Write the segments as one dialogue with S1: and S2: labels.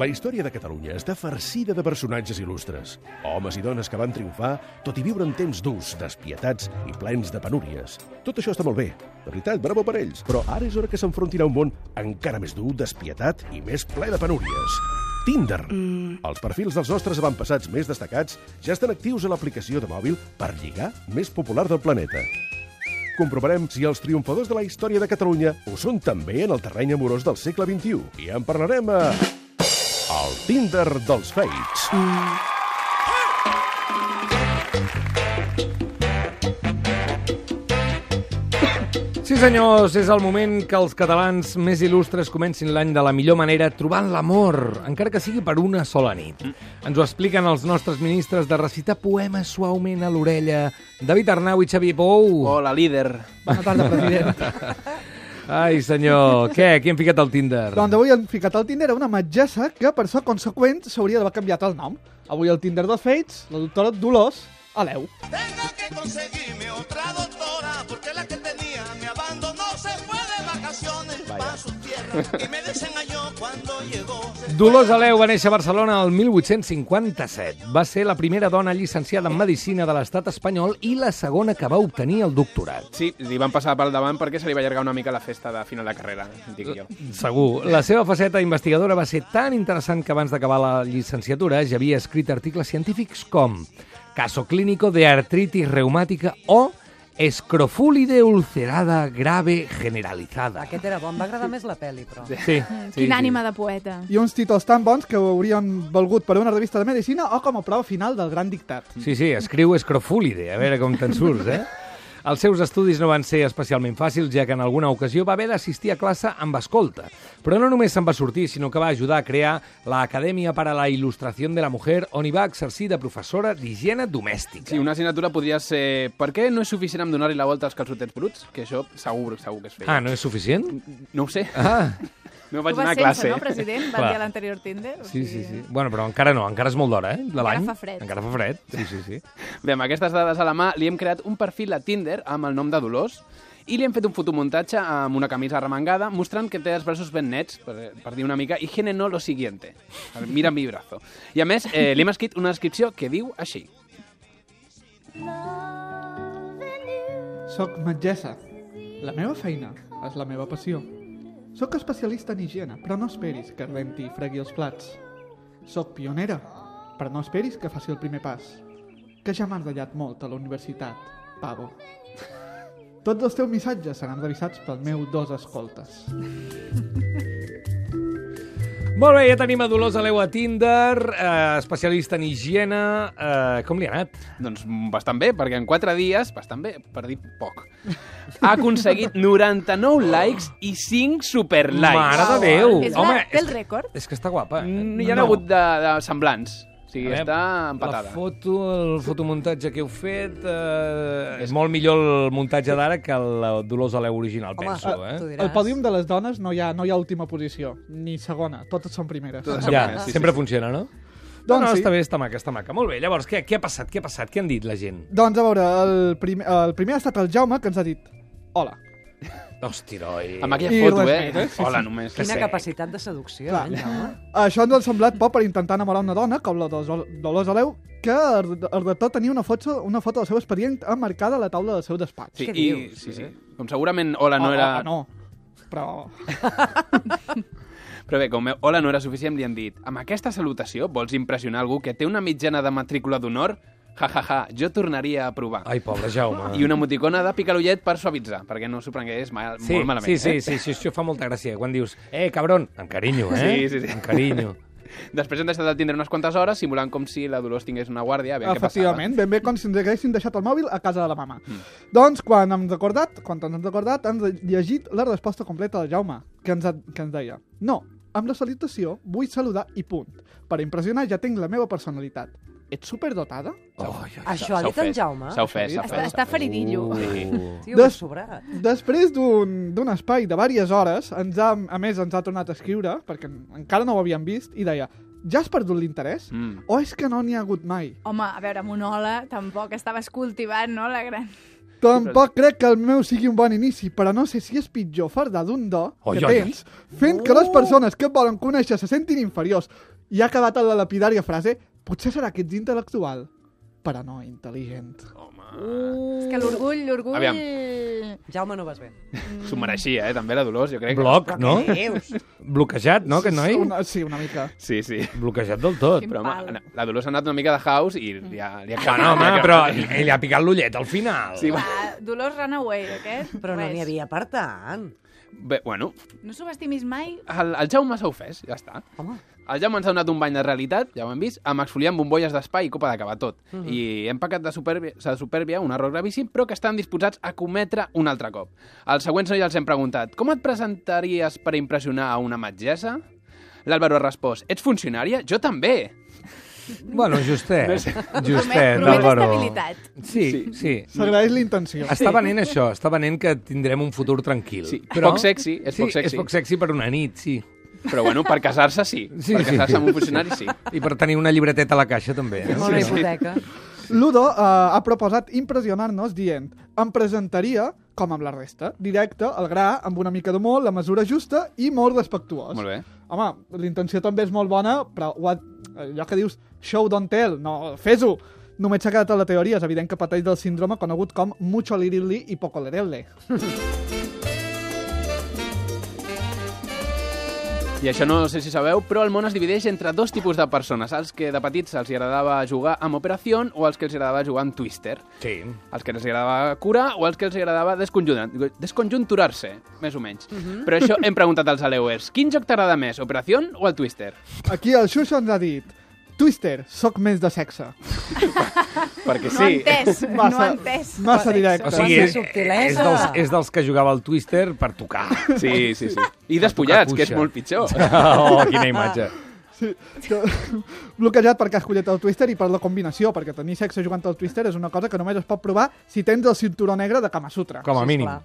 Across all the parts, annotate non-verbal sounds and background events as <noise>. S1: La història de Catalunya està farcida de personatges il·lustres. Homes i dones que van triomfar, tot i viure en temps durs, despietats i plens de penúries. Tot això està molt bé. De veritat, bravo per ells. Però ara és hora que s'enfrontin a un món encara més dur, despietat i més ple de penúries. Tinder. Mm. Els perfils dels nostres avantpassats més destacats ja estan actius a l'aplicació de mòbil per lligar més popular del planeta. Comprovarem si els triomfadors de la història de Catalunya ho són també en el terreny amorós del segle XXI. I en parlarem a... El Tinder dels Fates.
S2: Sí, senyors, és el moment que els catalans més il·lustres comencin l'any de la millor manera trobant l'amor, encara que sigui per una sola nit. Ens ho expliquen els nostres ministres de recitar poemes suaument a l'orella. David Arnau i Xavier Pou.
S3: Hola, líder.
S4: Bona tarda, president.
S2: Ai, senyor, què? Qui hem ficat al Tinder?
S4: doncs avui han ficat al Tinder a una metgessa que, per ser conseqüent, s'hauria d'haver canviat el nom. Avui al Tinder dels Fates, la doctora Dolors Aleu.
S5: Tengo que conseguirme otra doctora porque la que tenía me abandonó, se fue de vacaciones para su tierra y me desengañó cuando llegó.
S2: Dolors Aleu va néixer a Barcelona el 1857. Va ser la primera dona llicenciada en Medicina de l'estat espanyol i la segona que va obtenir el doctorat.
S3: Sí, li van passar pel davant perquè se li va allargar una mica la festa de final de carrera, dic jo.
S2: Segur. La seva faceta investigadora va ser tan interessant que abans d'acabar la llicenciatura ja havia escrit articles científics com Caso clínico de artritis reumática o escrofúlide ulcerada grave generalizada.
S6: Aquest era bon, em va agradar més la pel·li, però. Sí.
S2: Sí,
S7: Sí, Quina sí. ànima de poeta.
S4: I uns títols tan bons que ho haurien valgut per a una revista de medicina o com a prova final del gran dictat.
S2: Sí, sí, escriu escrofúlide, a veure com te'n surts, eh? Els seus estudis no van ser especialment fàcils, ja que en alguna ocasió va haver d'assistir a classe amb escolta. Però no només se'n va sortir, sinó que va ajudar a crear la Acadèmia para la Ilustración de la Mujer, on hi va exercir de professora d'higiene domèstica.
S3: Sí, una assignatura podria ser... Per què no és suficient amb donar-li la volta als calçotets bruts? Que això segur, segur que es feia.
S2: Ah, no és suficient?
S3: No ho sé,
S2: Ah,
S3: <laughs> no
S7: Ho
S3: vaig
S7: vas
S3: anar a
S7: sense,
S3: classe.
S7: no, president? Va
S2: eh? Clar.
S7: dir a l'anterior Tinder. O
S2: sí, sí,
S7: sigui,
S2: sí. Bueno, però encara no, encara és molt d'hora, eh? De
S7: Encara
S2: l'any.
S7: fa fred.
S2: Encara fa fred, sí, sí, sí.
S3: <laughs> Bé, amb aquestes dades a la mà, li hem creat un perfil a Tinder amb el nom de Dolors i li hem fet un fotomuntatge amb una camisa remangada mostrant que té els braços ben nets, per, per dir una mica, i gene no lo siguiente. Mira mi brazo. I a més, eh, li hem escrit una descripció que diu així.
S4: Soc metgessa. La meva feina és la meva passió. Soc especialista en higiene, però no esperis que renti i fregui els plats. Soc pionera, però no esperis que faci el primer pas. Que ja m'han ratllat molt a la universitat, pavo. Tots els teus missatges seran revisats pel meu dos escoltes.
S2: Molt bé, ja tenim a Dolors Aleu a Tinder, eh, especialista en higiene. Eh, com li ha anat?
S3: Doncs mm, bastant bé, perquè en 4 dies, bastant bé, per dir poc, ha aconseguit 99 likes i 5
S2: Mare
S3: superlikes.
S2: de Déu!
S7: És la- té el rècord?
S2: Uh, És que està guapa. eh?
S3: Mm, Hi ha hagut de, de semblants. O sigui, està empatada.
S2: La foto, el fotomuntatge que heu fet... Eh, és molt millor el muntatge d'ara que la Dolors Aleu original,
S6: Home,
S2: penso,
S6: tu
S2: eh?
S6: diràs.
S4: Al pòdium de les dones no hi ha, no hi ha última posició, ni segona, totes són primeres.
S3: Totes són
S2: Ja,
S3: Sí, sí,
S2: sempre
S3: sí.
S2: funciona, no?
S4: Doncs
S2: no, no,
S4: sí.
S2: està bé, està maca, està maca. Molt bé, llavors, què, què ha passat? Què ha passat? Què han dit la gent?
S4: Doncs a veure, el, prim el primer ha estat el Jaume, que ens ha dit Hola.
S2: Hòstia, noi...
S3: Amb aquella
S4: I
S3: foto,
S4: res
S3: eh?
S4: més, eh?
S3: Hola, només.
S2: Que
S6: Quina
S2: sec.
S6: capacitat de seducció,
S4: Clar.
S6: eh, el Jaume?
S4: Això ens ha semblat poc per intentar enamorar una dona, com la Dol- Dolors Aleu, que er, el el redactor tenia una foto, una foto del seu expedient emmarcada a la taula del seu despatx.
S3: Sí,
S6: Què
S3: i,
S6: dius?
S3: sí, sí. Com segurament Hola
S2: Oh,
S3: no
S4: O- o-
S3: era...
S4: o no. Però...
S3: Però bé, com Hola no era suficient, li han dit amb aquesta salutació vols impressionar algú que té una mitjana de matrícula d'honor? Ja, ja, ja, jo tornaria a provar.
S2: Ai, pobre Jaume.
S3: I una emoticona de picarollet per suavitzar, perquè no s'ho prengués mal,
S2: Sí,
S3: molt malament.
S2: sí, sí,
S3: eh?
S2: sí, sí, això fa molta gràcia. Quan dius, eh, cabron, amb carinyo, eh?
S3: Sí, sí, sí.
S2: Amb
S3: <laughs>
S2: carinyo.
S3: Després han deixat de tindre unes quantes hores simulant com si la Dolors tingués una guàrdia, a veure què passava.
S4: Efectivament, ben bé com si ens haguessin deixat el mòbil a casa de la mama.
S3: Mm.
S4: Doncs, quan hem recordat, quan ens hem recordat, hem llegit la resposta completa del Jaume, que ens, ha, que ens deia No, amb la salutació vull saludar i punt. Per impressionar ja tinc la meva personalitat. Ets superdotada?
S2: Oh,
S6: Això ha
S3: S'ha
S6: dit el
S3: ofès,
S6: Jaume?
S3: S'ha ofès, s'ha
S7: Està,
S3: ofès.
S7: està feridillo.
S2: Uh.
S6: Tio, Des...
S4: Des-
S6: sobrat.
S4: Després d'un d'un espai de diverses hores, ens ha, a més ens ha tornat a escriure, perquè en- encara no ho havíem vist, i deia, ja has perdut l'interès?
S3: Mm.
S4: O és que no n'hi ha hagut mai?
S7: Home, a veure, Monola tampoc estaves cultivant, no?, la gran...
S4: Tampoc crec que el meu sigui un bon inici, però no sé si és pitjor fardar d'un do
S2: Oi,
S4: que
S2: oi, oi.
S4: tens, fent que les persones que et volen conèixer se sentin inferiors. I ha acabat amb la lapidària frase potser serà que ets intel·lectual, però no intel·ligent.
S7: És que l'orgull, l'orgull...
S3: Aviam.
S6: Jaume, no vas bé.
S3: S'ho mereixia, eh, també la Dolors, jo crec.
S2: Bloc, no?
S6: Què dius?
S2: Bloquejat, no, aquest noi?
S4: Una, sí, una mica.
S3: Sí, sí.
S2: Bloquejat del tot.
S3: Però,
S7: Pal.
S3: home, la Dolors ha anat una mica de house i li ha, li ha
S2: Bueno,
S3: li ha
S2: home,
S3: acabat.
S2: però ell ha picat l'ullet al final.
S3: Sí, va.
S7: Ah, Dolors Runaway, aquest.
S6: <laughs> <laughs> Però no
S7: res.
S6: n'hi havia per tant.
S3: Bé, bueno,
S7: No subestimis mai
S3: el, el Jaume s'ha ofès, ja està.
S6: Home,
S3: El Jaume ens ha donat un bany de realitat, ja ho hem vist, amb exfoliant bombolles d'espai i copa d'acabar tot.
S2: Mhm.
S3: I hem pecat de superbia, de superbia un error gravíssim, però que estan disposats a cometre un altre cop. Els següents nois els hem preguntat com et presentaries per impressionar a una metgessa? L'Àlvaro ha respost, ets funcionària? Jo també!
S2: Bueno, justet.
S7: Promet-
S2: Justet,
S7: promet
S2: Álvaro.
S7: estabilitat.
S2: Sí, sí.
S4: S'agraeix la intenció.
S2: Està venent això, està venent que tindrem un futur tranquil.
S3: Sí, poc sexy, és
S2: sí,
S3: poc sexy.
S2: és poc sexy per una nit, sí.
S3: Però bueno, per casar-se sí.
S2: Sí,
S3: sí per
S2: sí.
S3: casar-se amb un funcionari sí.
S2: I per tenir una llibreteta a la caixa, també. Eh?
S6: molt bé, hipoteca.
S4: Ludo eh, ha proposat impressionar-nos dient em presentaria, com amb la resta, directe, al gra, amb una mica d'humor, la mesura justa i molt respectuós.
S3: Molt bé.
S4: Home, la intenció també és molt bona, però ho ha- allò que dius show don't tell, no, fes-ho! Només s'ha quedat a la teoria, és evident que pateix del síndrome conegut com mucho lirili i poco lerele.
S3: I això no sé si sabeu, però el món es divideix entre dos tipus de persones, els que de petits els hi agradava jugar amb Operació o els que els agradava jugar amb Twister.
S2: Sí.
S3: Els que els agradava curar o els que els agradava desconjunturar- desconjunturar-se, més o menys. Però això hem preguntat als aleuers. Quin joc t'agrada més, Operació o el Twister?
S4: Aquí el Xuxa ens ha dit Twister, sóc més de sexe.
S3: Perquè
S7: No ha
S2: <laughs>
S3: sí,
S7: entès, no ha entès.
S4: massa directe.
S2: O sigui,
S6: Quanta
S2: és, és,
S6: subtilesa.
S2: dels, és dels que jugava al Twister per
S3: <laughs>
S2: tocar.
S3: sí, sí, sí. I despullats, que és
S2: cuixa.
S3: molt pitjor.
S2: Oh, quina imatge.
S4: Sí, que... bloquejat perquè has collit el Twister i per la combinació, perquè tenir sexe jugant al Twister és una cosa que només es pot provar si tens el cinturó negre de Kama Sutra.
S2: Com a mínim.
S6: Clar.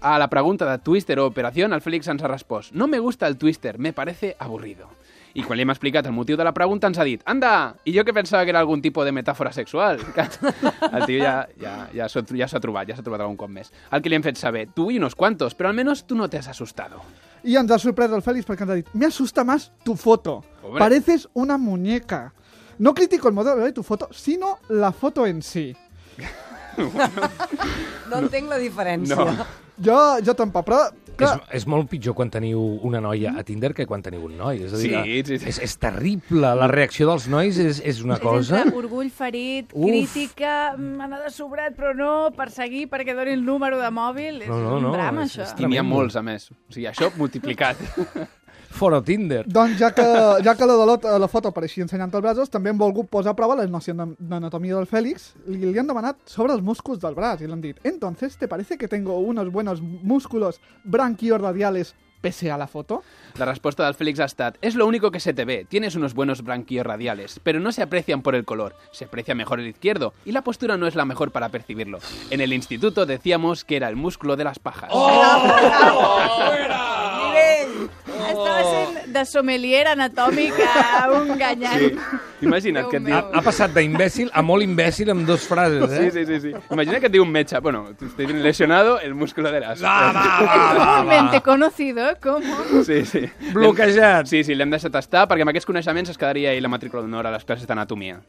S3: A la pregunta de Twister o Operación, el Félix ens ha respost «No me gusta el Twister, me parece aburrido». I quan li hem explicat el motiu de la pregunta ens ha dit «Anda!» I jo que pensava que era algun tipus de metàfora sexual. <laughs> Que El tio ja, ja, ja s'ho- ja s'ha trobat, ja s'ha trobat algun cop més. El que li hem fet saber «Tú y unos cuantos, pero al menos tú no te has asustado».
S4: I ens ha sorprès el Fèlix perquè ens ha dit «Me asusta más tu foto.
S3: Hombre.
S4: Pareces una muñeca». No critico el modelo de tu foto, sino la foto en sí.
S6: No entenc la diferència.
S3: No.
S4: Jo, jo tampoc, però...
S2: És,
S4: Clar,
S2: és molt pitjor quan teniu una noia a Tinder que quan teniu un noi. És a dir,
S3: Sí, sí, sí.
S2: És, és terrible. La reacció dels nois és, és una
S7: És
S2: cosa...
S7: entre orgull ferit,
S2: Uf.
S7: crítica, mm, anar de sobrat, però no, perseguir perquè doni el número de mòbil. És
S2: No, no,
S7: un
S2: no,
S7: drama,
S2: és-
S7: això.
S2: és
S3: I n'hi ha
S2: Tremendo.
S3: molts, a més. O sigui, això multiplicat.
S2: Fora Tinder.
S4: doncs ja que, ja que la, de la, la foto apareixia ensenyant els braços, també hem volgut posar a prova la noció d'an- d'anatomia del Fèlix i li han demanat sobre els músculs del braç i l'han dit «Entonces, ¿te parece que tengo unos buenos músculos branquiorradiales pese a la foto?»
S3: La respuesta del Félix ha estat «Es lo único que se te ve. Tienes unos buenos branquios radiales, pero no se aprecian por el color. Se aprecia mejor el izquierdo y la postura no es la mejor para percibirlo. En el instituto decíamos que era el músculo de las pajas».
S7: Estava sent de sommelier anatòmica a un ganyant.
S3: Imagina't
S7: Déu
S3: que et
S7: meu.
S3: diu...
S2: Ha, ha passat d'imbècil a molt imbècil amb dues frases, eh?
S3: Sí, sí, sí, sí. Imagina que et diu un metge. Bueno, estoy lesionado el músculo de las...
S2: Va, va, va, va, va.
S7: Comúnmente conocido como...
S3: Sí, sí.
S2: Bloquejat.
S3: Sí, sí, l'hem deixat estar perquè amb aquests coneixements es quedaria ell la matrícula d'honor a les classes d'anatomia.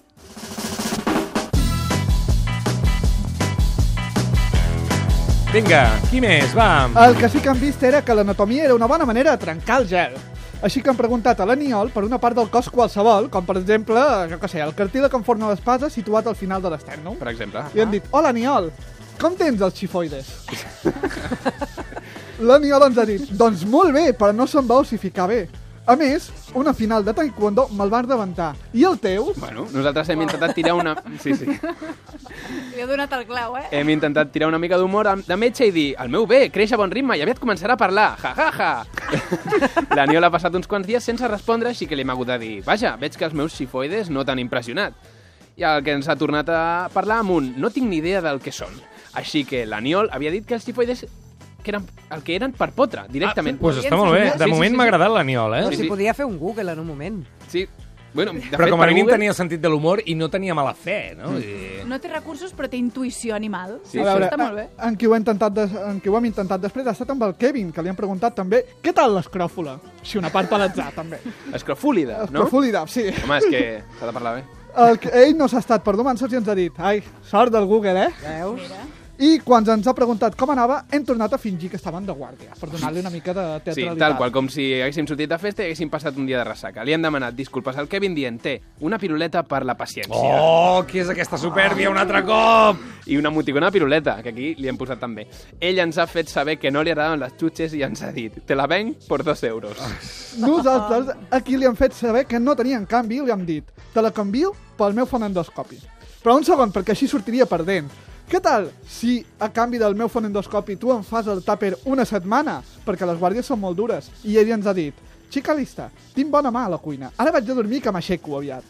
S2: Vinga, qui més?
S3: Ah,
S2: Va.
S4: El que sí que han vist era que l'anatomia era una bona manera de trencar el gel. Així que han preguntat a l'aniol per una part del cos qualsevol, com per exemple, jo què sé, el cartílag en forma d'espasa situat al final de l'esternum.
S3: Per exemple.
S4: I han dit, hola Aniol, com tens els xifoides? <laughs> L'aniol ens ha dit, doncs molt bé, però no se'n va ossificar bé. A més, una final de taekwondo me'l va rebentar. I el teu?
S3: Bueno, nosaltres hem intentat tirar una... Sí, sí.
S7: Li he donat el clau, eh?
S3: Hem intentat tirar una mica d'humor amb- de metge i dir el meu bé, creix a bon ritme i aviat començarà a parlar. Ja, ja,
S2: <laughs>
S3: ja. L'Aniol ha passat uns quants dies sense respondre, així que li hem hagut de dir vaja, veig que els meus xifoides no t'han impressionat. I el que ens ha tornat a parlar amb un no tinc ni idea del que són. Així que l'Aniol havia dit que els xifoides que eren, el que eren per potre, directament.
S2: Ah, Pues està molt bé.
S3: Sí,
S2: De
S3: sí,
S2: moment
S3: sí,
S2: m'ha
S3: sí.
S2: agradat l'aniol,
S6: No,
S2: eh?
S3: Sí,
S6: si
S3: sí.
S6: podia fer un Google en un moment.
S3: Sí, Bueno, de
S2: Però
S3: fet,
S2: com a
S3: per
S2: mínim
S3: Google-
S2: tenia sentit de l'humor i no tenia mala fe, no? Mm.
S7: No té recursos, però té intuïció animal.
S3: Sí,
S7: Sí,
S4: A
S7: Això
S4: veure,
S7: està molt bé.
S4: en qui, ho hem intentat des, en qui ho hem intentat després ha estat amb el Kevin, que li han preguntat també què tal l'escròfula? Si una part per l'atzar, també.
S3: Escrofúlida, no?
S4: Escròfulida, sí.
S3: Home, és que s'ha de parlar bé.
S4: El, que- ell no s'ha estat per demans i ens ha dit ai, sort del Google, eh?
S6: Veus?
S4: I quan ens ha preguntat com anava, hem tornat a fingir que estaven de guàrdia, per donar-li una mica de
S3: Sí,
S4: teatralitat.
S3: tal qual, com si haguéssim sortit de festa i haguéssim passat un dia de ressaca. Li han demanat disculpes al Kevin dient té una piruleta per la paciència.
S2: Oh, què és aquesta supèrbia un altre cop!
S3: I una emoticona de piruleta, que aquí li hem posat també. Ell ens ha fet saber que no li agradaven les xutxes i ens ha dit te la venc per dos euros.
S2: Ah,
S4: Nosaltres aquí li hem fet saber que no tenien canvi i li hem dit te la canvio pel meu fonendoscopi. Però un segon, perquè així sortiria perdent. Què tal si a canvi del meu fonendoscopi tu em fas el tàper una setmana? Perquè les guàrdies són molt dures. I ell ens ha dit, xica lista, tinc bona mà a la cuina. Ara vaig a dormir que m'aixeco aviat.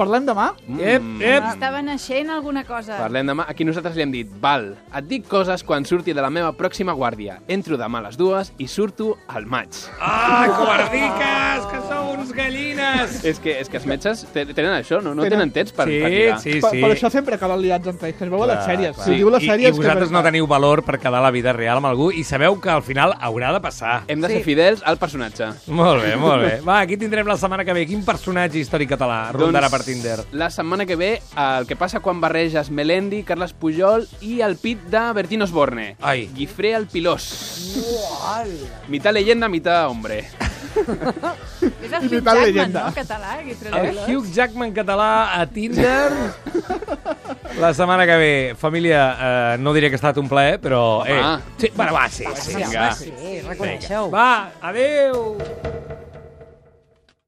S4: Parlem demà?
S3: Mm.
S2: Ep, ep!
S7: Estava naixent alguna cosa.
S3: Parlem demà. Aquí nosaltres li hem dit, val, et dic coses quan surti de la meva pròxima guàrdia. Entro demà a les dues i surto al maig.
S2: Ah, covardiques, que sou uns gallines!
S3: És que, és que els metges te- tenen això, no? No
S4: Tenen-
S3: tenen temps per
S2: sí,
S3: practicar.
S2: sí,
S4: Per, per això sempre acaben liats entre ells, que es veu a les sèries.
S2: clar.
S4: Si ho diu les
S2: I,
S4: sèries...
S2: I vosaltres
S4: que...
S2: no teniu valor per quedar a la vida real amb algú i sabeu que al final haurà de passar.
S3: Hem de ser fidels al personatge.
S2: Molt bé, molt bé. Va, aquí tindrem la setmana que ve. Quin personatge històric català rondarà per Tinder?
S3: Doncs La setmana que ve, el que passa quan barreges Melendi, Carles Pujol i el pit de Bertín Osborne.
S2: Ai.
S3: Guifré el Pilós. Mitad leyenda, mitad hombre.
S7: És el
S4: Imitant
S7: Hugh Jackman,
S4: leyenda.
S7: no? Català, aquí treu
S2: El
S7: dolor.
S2: Hugh Jackman català a Tinder la setmana que ve. Família, eh, no diré que ha estat un plaer, però... Eh,
S3: Home.
S2: sí, va, va, sí, sí.
S3: Vinga.
S6: Sí, reconeixeu.
S2: Va, adeu!